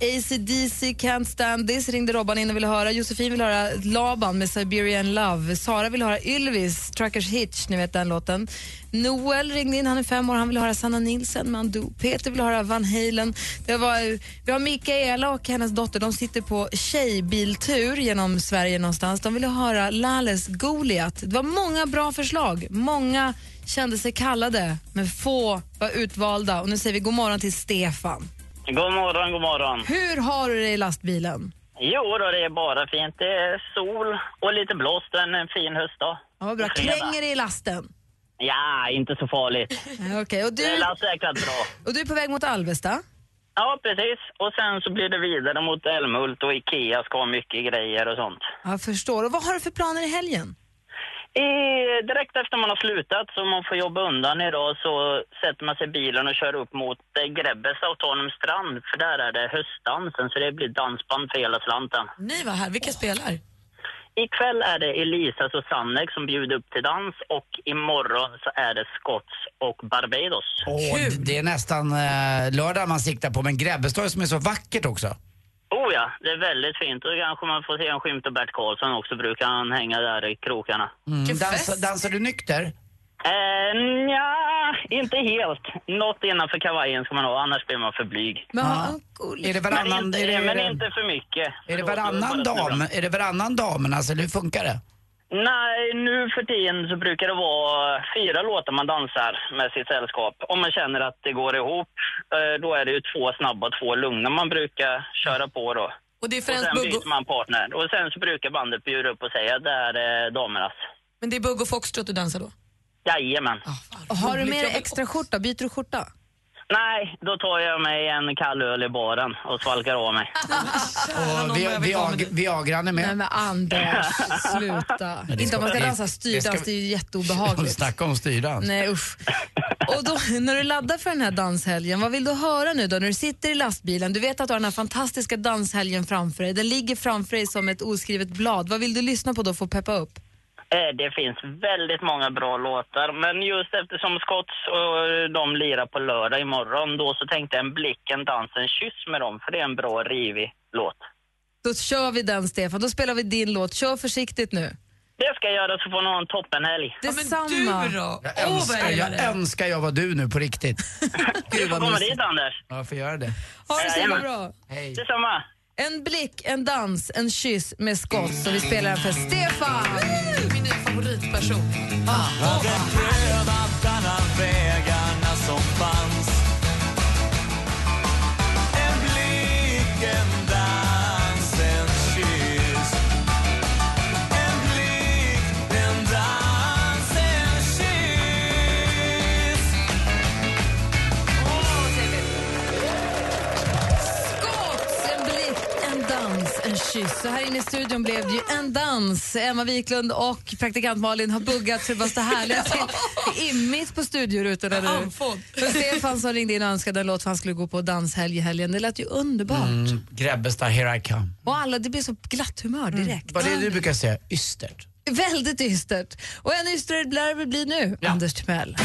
H: AC/DC, Can't Stand This ringde Robban in och ville höra. Josefin vill höra Laban med Siberian Love. Sara vill höra Ylvis, Truckers Hitch, ni vet den låten. Noel ringde in, han är fem år, han vill höra Sanna Nilsson med Undo. Peter vill höra Van Halen. Det var, vi har Mikaela och hennes dotter, de sitter på tjejbiltur genom Sverige någonstans. De ville höra Lales Goliat. Det var många bra förslag, många kände sig kallade, men få var utvalda. Och nu säger vi god morgon till Stefan.
U: God morgon, god morgon.
H: Hur har du det i lastbilen?
U: Jo då, det är bara fint. Det är sol och lite blåst en, en fin höstdag.
H: Ja, vad bra.
U: Och fredag.
H: Kränger det i lasten?
U: Ja, inte så farligt.
H: Nej, Okej, och,
U: Det
H: du,
U: är säkert bra.
H: och du är på väg mot Alvesta?
U: Ja, precis. Och sen så blir det vidare mot Älmhult och Ikea ska ha mycket grejer och sånt.
H: Jag förstår. Och vad har du för planer i helgen?
U: Eh, direkt efter man har slutat, så man får jobba undan idag, så sätter man sig i bilen och kör upp mot eh, Grebbes autonom strand, för där är det höstdansen, så det blir dansband för hela slanten.
K: Ni var här, vilka spelar?
U: Ikväll är det Elisas och Sannex som bjuder upp till dans och imorgon så är det Scotts och Barbados.
I: Åh, det, det är nästan eh, lördag man siktar på, men Grebbestad som är så vackert också.
U: Oh ja, det är väldigt fint. Och kanske man får se en skymt av Bert Karlsson också, brukar han hänga där i krokarna.
I: Mm. Dansa, dansar du nykter?
U: Eh, nja, inte helt. Något innanför kavajen ska man ha, annars blir man för blyg.
I: Är det
U: men
I: varannan,
U: inte,
I: är det,
U: men inte för mycket.
I: är det
U: Förlåt,
I: varannan
U: jag
I: dam?
U: bara snurrar.
I: Är det varannan damernas eller hur funkar det?
U: Nej, nu för tiden så brukar det vara fyra låtar man dansar med sitt sällskap. Om man känner att det går ihop, eh, då är det ju två snabba och två lugna man brukar köra på då.
K: Och det är
U: Och
K: främst
U: sen
K: Bugg och,
U: byter man partner. Och sen så brukar bandet bjuda upp och säga det här är damernas.
K: men det är bugg och foxtrot du dansar då?
U: Jajamän.
K: Ah.
H: Och har du med dig extra skjorta? Byter du skjorta?
U: Nej, då tar jag mig en kall öl i baren och svalkar av mig.
I: Och vi, vi, vi, Viagran är med.
H: Nej men Anders,
I: *laughs*
H: sluta.
I: Men det
H: Inte om man ska
I: det-
H: dansa
I: det
H: styrdans,
I: ska-
H: det är ju
I: Och *laughs*
H: jätteobehagligt.
I: Snacka om styrdans.
H: Nej usch. Och då, när du laddar för den här danshelgen, vad vill du höra nu då när du sitter i lastbilen? Du vet att du har den här fantastiska danshelgen framför dig. Den ligger framför dig som ett oskrivet blad. Vad vill du lyssna på då för att peppa upp?
U: Eh, Det finns väldigt många bra låtar, men just eftersom Scotts och eh, de lirar på lördag imorgon, då så tänkte jag en blicken, dansen, kyss med dem, för det är en bra rivig låt.
H: Då kör vi den Stefan, då spelar vi din låt. Kör försiktigt nu.
U: Det ska jag göra så får ni ha en toppenhelg.
H: Detsamma. du då?
U: Jag
I: Jag önskar, jag önskar jag var du nu på riktigt.
U: *laughs* Du får komma dit Anders.
I: Ja, jag får göra det.
H: Ha det så himla
U: Jajamän.
H: bra.
I: Hej.
U: Detsamma.
H: En blick, en dans, en kyss med skott. Så vi spelar den för Stefan. Min nya favoritperson.
S: Hade prövat alla vägarna som fanns En blick, en dans, en kyss En blick, en dans, en kyss
H: Skott, en blick, en dans, en kyss. Så här inne i studion blev det ju en dans. Emma Wiklund och praktikant Malin har buggat för det härliga *laughs* till immigt på studiorutan. Eller? hur?
K: Andfådd.
H: För Stefan som ringde in och önskade en låt för han skulle gå på danshelg i helgen. Det lät ju underbart.
I: Mm, Grebbestad, here I come.
H: Och alla, det blir så glatt humör direkt. Ah,
I: Vad är Mm. det du brukar säga? Ystert.
H: Väldigt ystert. Och ännu ystrare lär det bli nu, Anders Timell.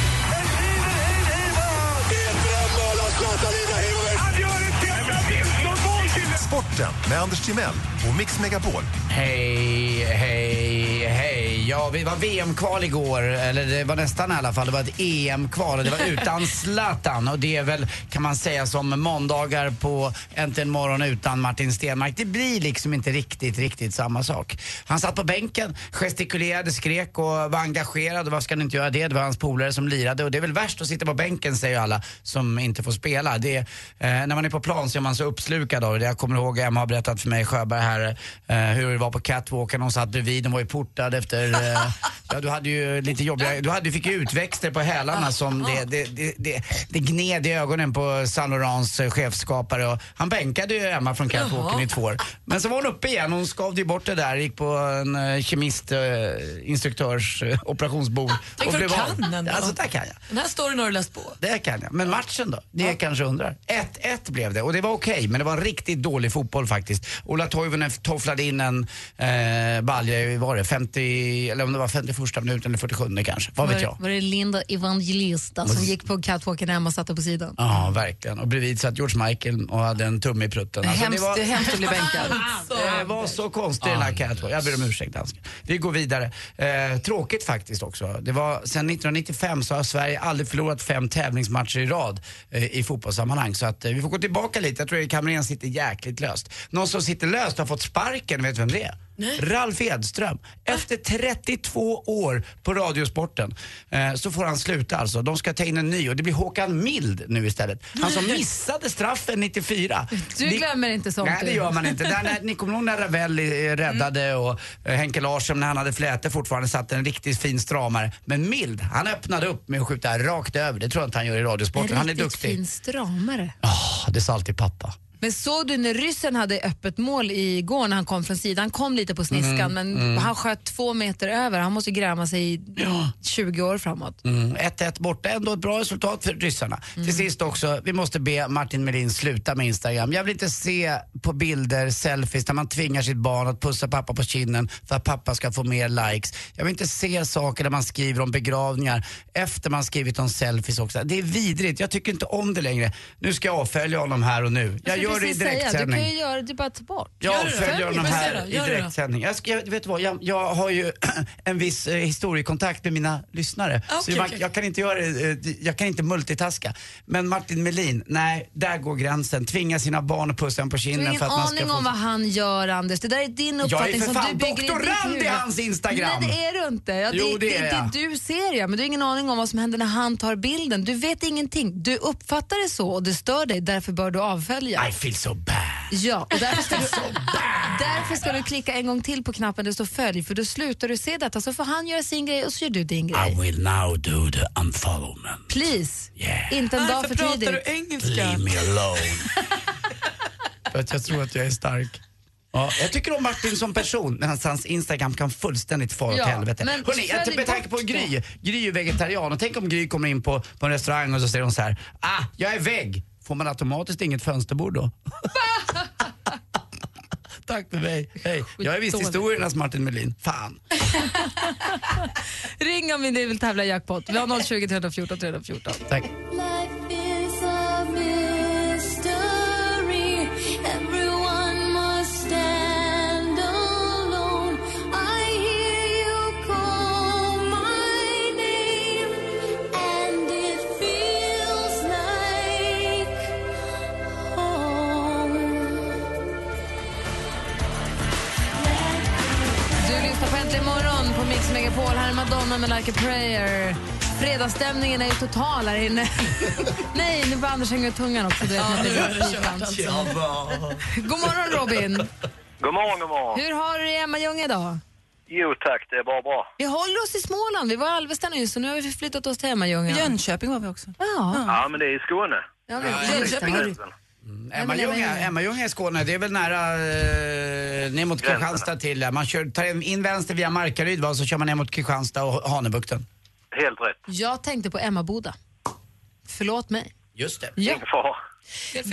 O: Sporten med Anders Timell och Mix Megapol.
I: Hej, hej, hej. Ja, vi var VM-kval igår, eller det var nästan i alla fall. Det var ett EM-kval och det var utan Zlatan. Och det är väl, kan man säga, som måndagar på Äntligen morgon utan Martin Stenmark. Det blir liksom inte riktigt, riktigt samma sak. Han satt på bänken, gestikulerade, skrek och var engagerad. Och varför ska han inte göra det? Det var hans polare som lirade. Och det är väl värst att sitta på bänken, säger ju alla som inte får spela. Det är, eh, när man är på plan så är man så uppslukad av det. Jag kommer ihåg, Emma har berättat för mig, Sjöberg här, eh, hur det var på catwalken. Hon satt bredvid, hon var ju portad efter...
K: *laughs*
I: Eh, ja, du hade ju lite jobbiga... Du, hade, du fick ju utväxter på hälarna som det, det, det, det, det gned i ögonen på Saint Laurents eh, chefskapare. Och han bänkade ju Emma från catwalken
B: Jaha.
I: i två år. Men så var hon uppe igen, hon skavde ju bort det där, gick på en eh, kemist, eh, instruktörs eh, operationsbord.
K: Tänk vad du
I: av.
K: kan ändå.
I: Alltså, där kan jag.
K: Den här storyn har du läst på.
I: Det kan jag. Men matchen då? Det jag kanske undrar. 1-1 blev det och det var okej, men det var riktigt dålig fotboll faktiskt. Ola Toivonen tofflade in en eh, balja i, vad var det, 50, eller om det var 51 minuten eller 47 kanske, vad vet jag.
H: Var, var det Linda Evangelista som gick på catwalken hemma och satte på sidan?
I: Ja, verkligen. Och bredvid satt George Michael och hade en tumme i prutten. Alltså,
L: hemskt,
I: det var-
L: det är hemskt att
I: *laughs*
L: bli bänkad.
I: Det var så konstigt den här catwalk. Jag ber om ursäkt dansken. Vi går vidare. Eh, tråkigt faktiskt också. Det var, sedan 1995 så har Sverige aldrig förlorat fem tävlingsmatcher i rad eh, i fotbollssammanhang. Så att eh, vi får gå tillbaka lite. Jag tror att kameran sitter jäkligt löst. Någon som sitter löst har fått sparken, vet du vem det är? Ralf Edström. Efter 32 år på Radiosporten eh, så får han sluta alltså. De ska ta in en ny och det blir Håkan Mild nu istället. Han som missade straffen 94.
H: Du
I: Det-
H: glömmer inte sånt.
I: Nej, det
H: du.
I: gör man inte. Där, när, ni kommer ihåg när Ravelli eh, räddade
H: Mm.
I: och eh, Henke Larsson när han hade flätor fortfarande satt en riktigt fin stramare. Men Mild, han öppnade upp med att skjuta rakt över. Det tror jag inte han gör i Radiosporten. Han är
H: Riktigt
I: duktig.
H: fin stramare.
I: Ah, det sa alltid pappa.
H: Men såg du när ryssen hade öppet mål igår när han kom från sidan? Han kom lite på sniskan
I: Mm,
H: men
I: mm.
H: han sköt två meter över. Han måste ju gräma sig i 20 år framåt.
I: Mm, 1-1 borta, ändå ett bra resultat för ryssarna.
H: Mm.
I: Till sist också, vi måste be Martin Melin sluta med Instagram. Jag vill inte se på bilder, selfies, när man tvingar sitt barn att pussa pappa på kinden för att pappa ska få mer likes. Jag vill inte se saker där man skriver om begravningar efter man skrivit om selfies också. Det är vidrigt, jag tycker inte om det längre. Nu ska jag avfölja honom här och nu. Jag
H: skulle
I: gör det i
H: precis säga,
I: direktsändning.
H: Du kan ju göra det bara ta bort.
I: Jag
H: Gör det då.
I: avföljer honom
H: Men se
I: här
H: då,
I: i
H: gör det då.
I: direktsändning. Jag, ska, jag, vet du vad, jag, jag har ju *clears throat* en viss eh, historiekontakt med mina lyssnare.
H: Ah,
I: så
B: Okej,
I: man,
B: okej.
I: Jag, kan inte göra, eh, jag kan inte multitaska. Men Martin Melin, nej, där går gränsen. Tvinga sina barn att pussa en på
H: Du har
I: kinden
H: ingen
I: för att man ska
H: aning
I: få...
H: om vad han gör, Anders. Det där är
I: Jag
H: din
I: är
H: uppfattning
I: för
H: som
I: fan
H: du bygger i
I: doktorand
H: ditt
I: i
H: huvud.
I: hans Instagram.
H: Nej, det är du inte. Ja, det,
I: Jo, det
H: det,
I: är
H: det,
I: jag.
H: du ser, ja. Men du har ingen aning om vad som händer när han tar bilden. Du vet ingenting. Du uppfattar det så och det stör dig. Därför bör du avfölja.
I: I feel so bad.
H: Ja, och därför ska,
K: *laughs*
H: du, därför ska du klicka en gång till på knappen där det står följ för då slutar du se detta så får han göra sin grej och så gör du din grej.
I: I will now do the unfollowment.
H: Please! Inte en dag
K: Varför
H: för
K: pratar
H: tidigt.
K: du engelska?
I: me alone. För att jag tror att jag är stark. Ja, jag tycker om Martin som person, men hans, hans Instagram kan fullständigt fara åt
B: Ja,
I: helvete.
B: men
I: Hörrni,
B: följ
I: jag- typ med tanke på
B: bort
I: Gry,
B: det.
I: Gry är ju vegetarian och tänk om Gry kommer in på, på en restaurang och så säger hon så här, ah, jag är vägg. Får man automatiskt inget fönsterbord då? Tack för mig. Hej. Jag är visst
H: Skitdåligt.
I: historiernas Martin Melin. Fan.
H: Ring om ni vill tävla i jackpot. Vi har 020 314 314.
I: Tack.
S: Life is a mystery. Everyone must stand alone. I hear you call my name, and it feels like home.
H: Du lyssnar på Äntligen morgon på Mix Megapol. Här är Madonna med Like a prayer. Fredagsstämningen är ju total
K: *laughs*
H: här inne. Nej, nu börjar Anders hänga ut tungan också. Du vet, när det blir pikant. *laughs* God morgon Robin!
V: God morgon, god morgon.
H: Hur har du det i Emmajunga idag?
V: Jo tack, det är bara bra.
H: Vi håller oss i Småland. Vi var i Alvesta nyss och nu har vi flyttat oss till Emmajunga.
L: Jönköping var vi också.
H: Ja.
V: Ja, men det är i Skåne.
H: Ja,
V: Det är
H: men Jönköping
V: i
H: är-
V: gränsen.
I: Mm. Emma Ljunga, Emma Ljunga i Skåne, det är väl nära eh, ner mot
V: Gränserna.
I: Kristianstad till. där. Man kör, tar in vänster via Markaryd va, och så kör man ner mot Kristianstad och Hanöbukten.
V: Helt rätt.
H: Jag tänkte på Emmaboda. Förlåt mig.
I: Just det.
H: Ja.
V: Ingen fara.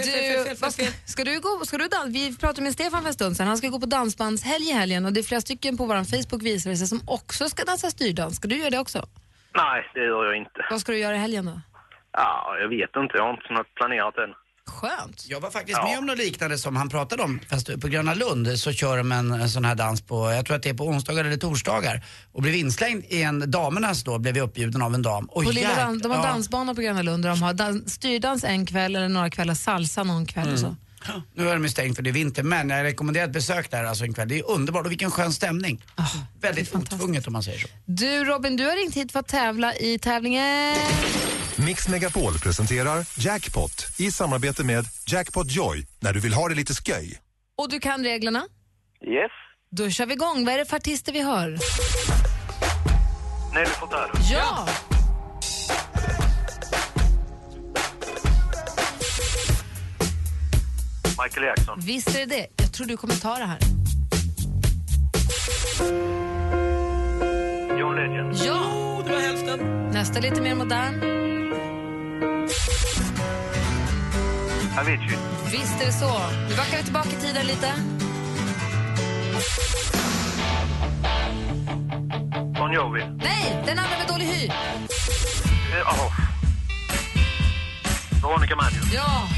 H: Du, vad ska, ska du gå, ska du dan- vi pratade med Stefan för en stund sedan, han ska gå på dansbandshelg i helgen och det är flera stycken på vår Facebook visar det sig som också ska dansa styrdans. Ska du göra det också?
V: Nej, det gör jag inte.
H: Vad ska du göra i helgen då?
V: Ja, jag vet inte, jag har inte något planerat än.
H: Skönt.
I: Jag var faktiskt med om något liknande som han pratade om. Fast på Gröna Lund så kör de en, en sån här dans på, jag tror att det är på onsdagar eller torsdagar. Och blev inslängd i en damernas då, blev jag uppbjuden av en dam. Och
H: på Lilla Dan- de har
I: ja.
H: dansbana på Gröna Lund där de har dan- styrdans en kväll eller några kvällar, salsa någon kväll och så.
I: Mm. Nu är de ju stängt för det är vinter, men jag rekommenderar ett besök där alltså en kväll. Det är underbart och vilken skön stämning. Väldigt otvunget om man säger så.
H: Du Robin, du har ringt hit för att tävla i tävlingen...
O: Mix Megapol presenterar Jackpot i samarbete med Jackpot Joy när du vill ha det lite sköj.
H: Och du kan reglerna?
V: Yes.
H: Då kör vi igång. Vad är det för artister vi hör?
V: Nelly Furtado.
H: Ja!
V: Michael Jackson.
H: Visst är det det. Jag tror du kommer ta det här.
V: John Legend.
H: Ja! Det var hälften. Nästa lite mer modern.
V: Avicii.
H: Visst är det så. Nu backar vi tillbaka i tiden lite.
V: Bon Jovi.
H: Nej, den andra med dålig hy.
V: Eh, Oh. Veronica Maggio.
H: Ja!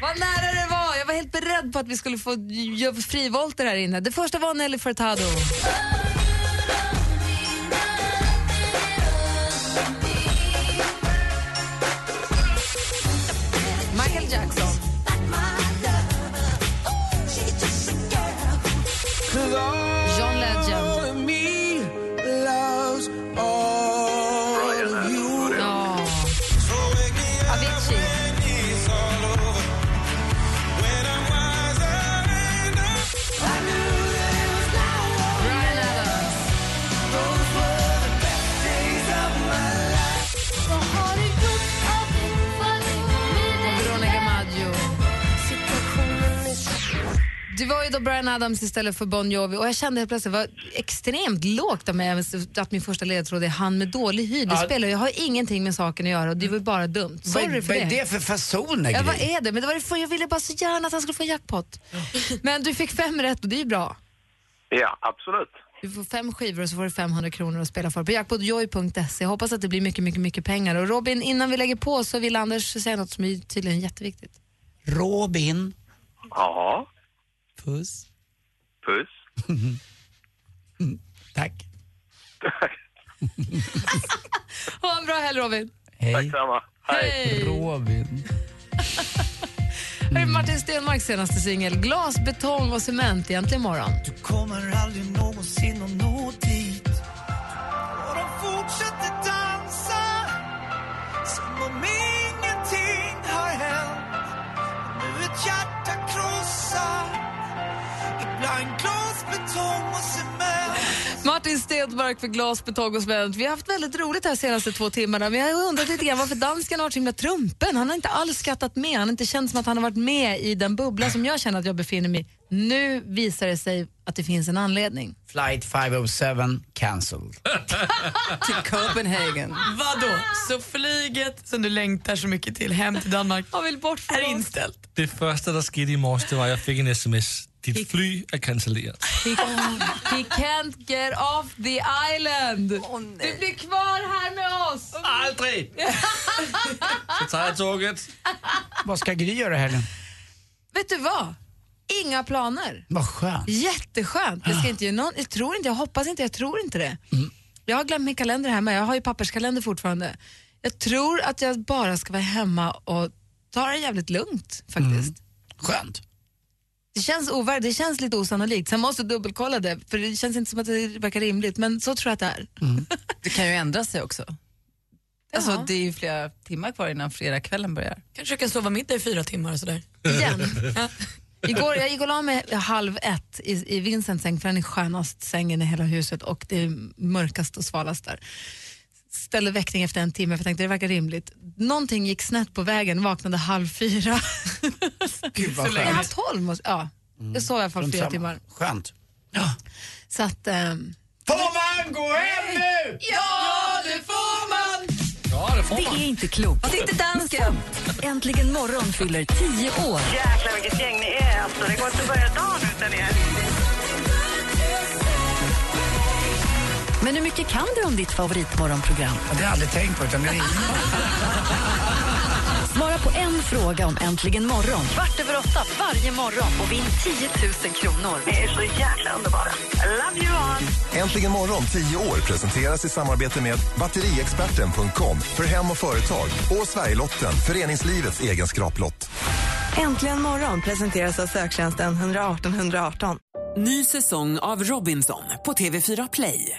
H: Vad nära det var! Jag var helt beredd på att vi skulle få göra frivolter här inne. Det första var Nelly Furtado. Michael Jackson. John Legend. Ja. Avicii. Bryan Adams. Veronica Maggio. Du var ju då Bryan Adams istället för Bon Jovi och jag kände helt plötsligt vad extremt lågt av mig att min första ledtråd är han med dålig hy. Det
I: Ja.
H: spelar ju- jag har ingenting med saken att göra och det var ju bara dumt.
I: Vad,
H: Sorry
I: är-
H: för
I: vad
H: det.
I: är det för fasoner
H: Ja, vad
I: Gry?
H: är det? Men det var det för, jag ville bara så gärna att han skulle få en jackpot. Men du fick fem rätt och det är ju bra.
V: Ja, absolut.
H: Du får fem skivor och så får du 500 kronor att spela för på jackpotjoy.se. Jag hoppas att det blir mycket, mycket, mycket pengar. Och Robin, innan vi lägger på så vill Anders säga något som är tydligen jätteviktigt.
I: Robin.
V: Ja.
I: Puss.
V: Puss.
I: Tack.
H: Ha en bra helg Robin!
I: *laughs* Hej.
V: Tack samma.
H: Hej.
I: Robin.
H: Här är Martin Stenmarcks senaste singel Glas, betong och cement egentligen imorgon.
S: Kommer aldrig någonsin att nå dit Och de fortsätter dansa Som om ingenting har hänt
H: Martin Stenmark för Glasbetong och Spänt. Vi har haft väldigt roligt här de senaste två timmarna. Vi har undrat lite grann varför dansken har varit så himla trumpen. Han har inte alls skattat med. Han har inte känt som att han har varit med i den bubbla som jag känner att jag befinner mig i. Nu visar det sig att det finns en anledning.
I: Flight 507 *laughs* cancelled.
K: Till Copenhagen. Vadå? Så flyget som du längtar så mycket till hem till Danmark är inställt?
M: Det första der skete i morges, det var, at jeg fik en sms. Dit fly er cancelleret.
H: He, he can't get off the island. du blir kvar här med oss.
M: Aldrig! Så tager jeg toget.
I: Vad ska Gry göra i helgen?
H: Vet du vad? Inga planer.
I: Vad skönt.
H: Jätteskönt. Jag, ska inte ge någon, jag tror inte, jag hoppas inte, jag tror inte det. Jag har glömt min kalender hemma, jag har ju papperskalender fortfarande. Jag tror att jag bara ska vara hemma och ta det jävligt lugnt faktiskt.
I: Skönt.
H: Det känns ovärd, det känns lite osannolikt. Sen måste jag dubbelkolla det, för det känns inte som att det verkar rimligt, men så tror jag att det är.
K: *laughs*
L: Det kan ju ändra sig också. Alltså, det är ju flera timmar kvar innan fredagskvällen börjar.
K: Kanske kan sova middag i fyra timmar och sådär.
H: Igen. Igår, jag gick och la mig halv ett i, i Vincents säng, för den är skönast sängen i hela huset och det är mörkast och svalast där. Ställde väckning efter en timme för jag tänkte det verkar rimligt. Någonting gick snett på vägen, vaknade halv fyra.
I: Gud vad
H: Nej, halv
I: skönt.
H: tolv måste, ja. Jag sov i alla
I: Mm.
H: fall
I: Runt
H: fyra
I: samma.
H: timmar.
I: Skönt.
H: Så att... ehm,
I: Får man gå hem nu?
H: Ja, det får man!
M: Ja, det får
D: Det är inte klokt. Att inte dansken! Äntligen morgon fyller tio år.
E: Jäklar vilket gäng ni är alltså. Det går inte att börja dagen utan er.
D: Men hur mycket kan du om ditt favoritmorgonprogram?
I: Det har jag aldrig tänkt på. Utan det är
D: Svara på en fråga om Äntligen morgon. Kvart över åtta varje morgon och vinn 10 000 kronor.
E: Ni är så jäkla underbara. I love you all.
O: Äntligen morgon 10 år presenteras i samarbete med batteriexperten.com för hem och företag och Sverigelotten, föreningslivets egen skraplott.
P: Äntligen morgon presenteras av söktjänsten 118 118.
A: Ny säsong av Robinson på TV4 Play.